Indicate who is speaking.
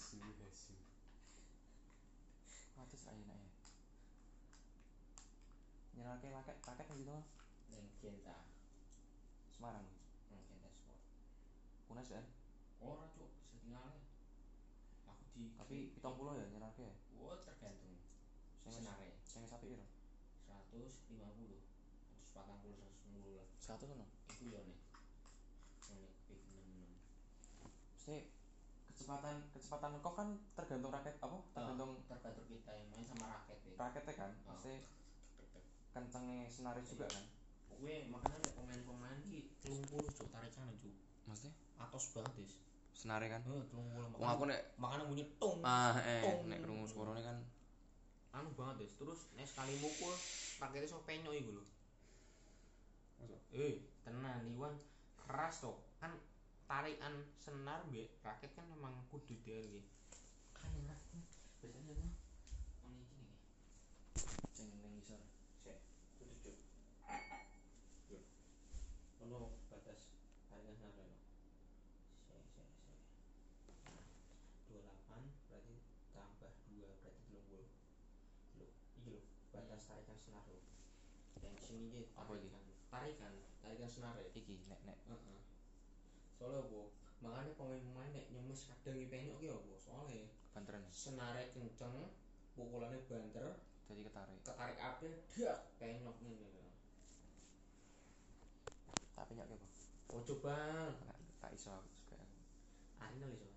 Speaker 1: Sini hesi.
Speaker 2: Wates ra enak ya. Nyerake laket paket nang gitu
Speaker 3: Neng cinta
Speaker 2: Semarang.
Speaker 3: Neng cinta sport
Speaker 2: Kunas ya.
Speaker 3: Ora cuk setengahnya Aku di
Speaker 2: Tapi 70 ya nyerake ya.
Speaker 3: Wah tergantung
Speaker 2: Sing
Speaker 3: Senare
Speaker 2: sing sapi piro?
Speaker 3: 150 140 150 lah
Speaker 2: 100 ono.
Speaker 3: Iku yo nek Nek pick 66
Speaker 2: Mesti kecepatan kecepatan kok kan tergantung raket apa? Tergantung
Speaker 1: Ah.
Speaker 3: tergantung kita yang main sama raket ya
Speaker 2: raketnya kan. Mesti kencengnya senarai juga kan.
Speaker 3: Gue makanya nek pemain-pemain ki 30 cuk tarik sana cuk
Speaker 1: Maksudnya?
Speaker 3: Atos banget Des
Speaker 1: Senare kan.
Speaker 3: Heeh 30
Speaker 1: Wong aku nek
Speaker 3: makanya bunyi tong
Speaker 1: ah eh
Speaker 3: Tong.
Speaker 1: nek krungu suarane kan
Speaker 3: anu banget Des terus nek sekali mukul raketnya sok penyok iku lho Eh, tenan Iwan keras toh. Kan tarikan senar mbek raket kan memang kudu dhewe iki. Kan enak. Biasanya mah on iki nih.
Speaker 2: Sing ning isor.
Speaker 3: Sik, kudu cuk. Yo. Ono batas harga senar lho. Sik, sik, sik. 28 berarti tambah 2 berarti 30. Lho, iki lho batas tarikan senar lho. Dan sini iki
Speaker 2: Apa iki?
Speaker 3: tarikan. Tarikan, tarikan senar ya.
Speaker 2: Iki nek nek
Speaker 3: Heeh. Soalnya apa? Makanya pemain-pemain nek nyemes kadang penyok ki apa? Soalnya
Speaker 2: kebanteran ya.
Speaker 3: senare kenceng, pukulannya banter,
Speaker 2: Jadi ketarik.
Speaker 3: ketarik ape dak penyok ngene.
Speaker 2: Tak penyok ya, Bu.
Speaker 3: Ojo bang,
Speaker 2: Tak iso aku juga.
Speaker 3: Arsenal iso.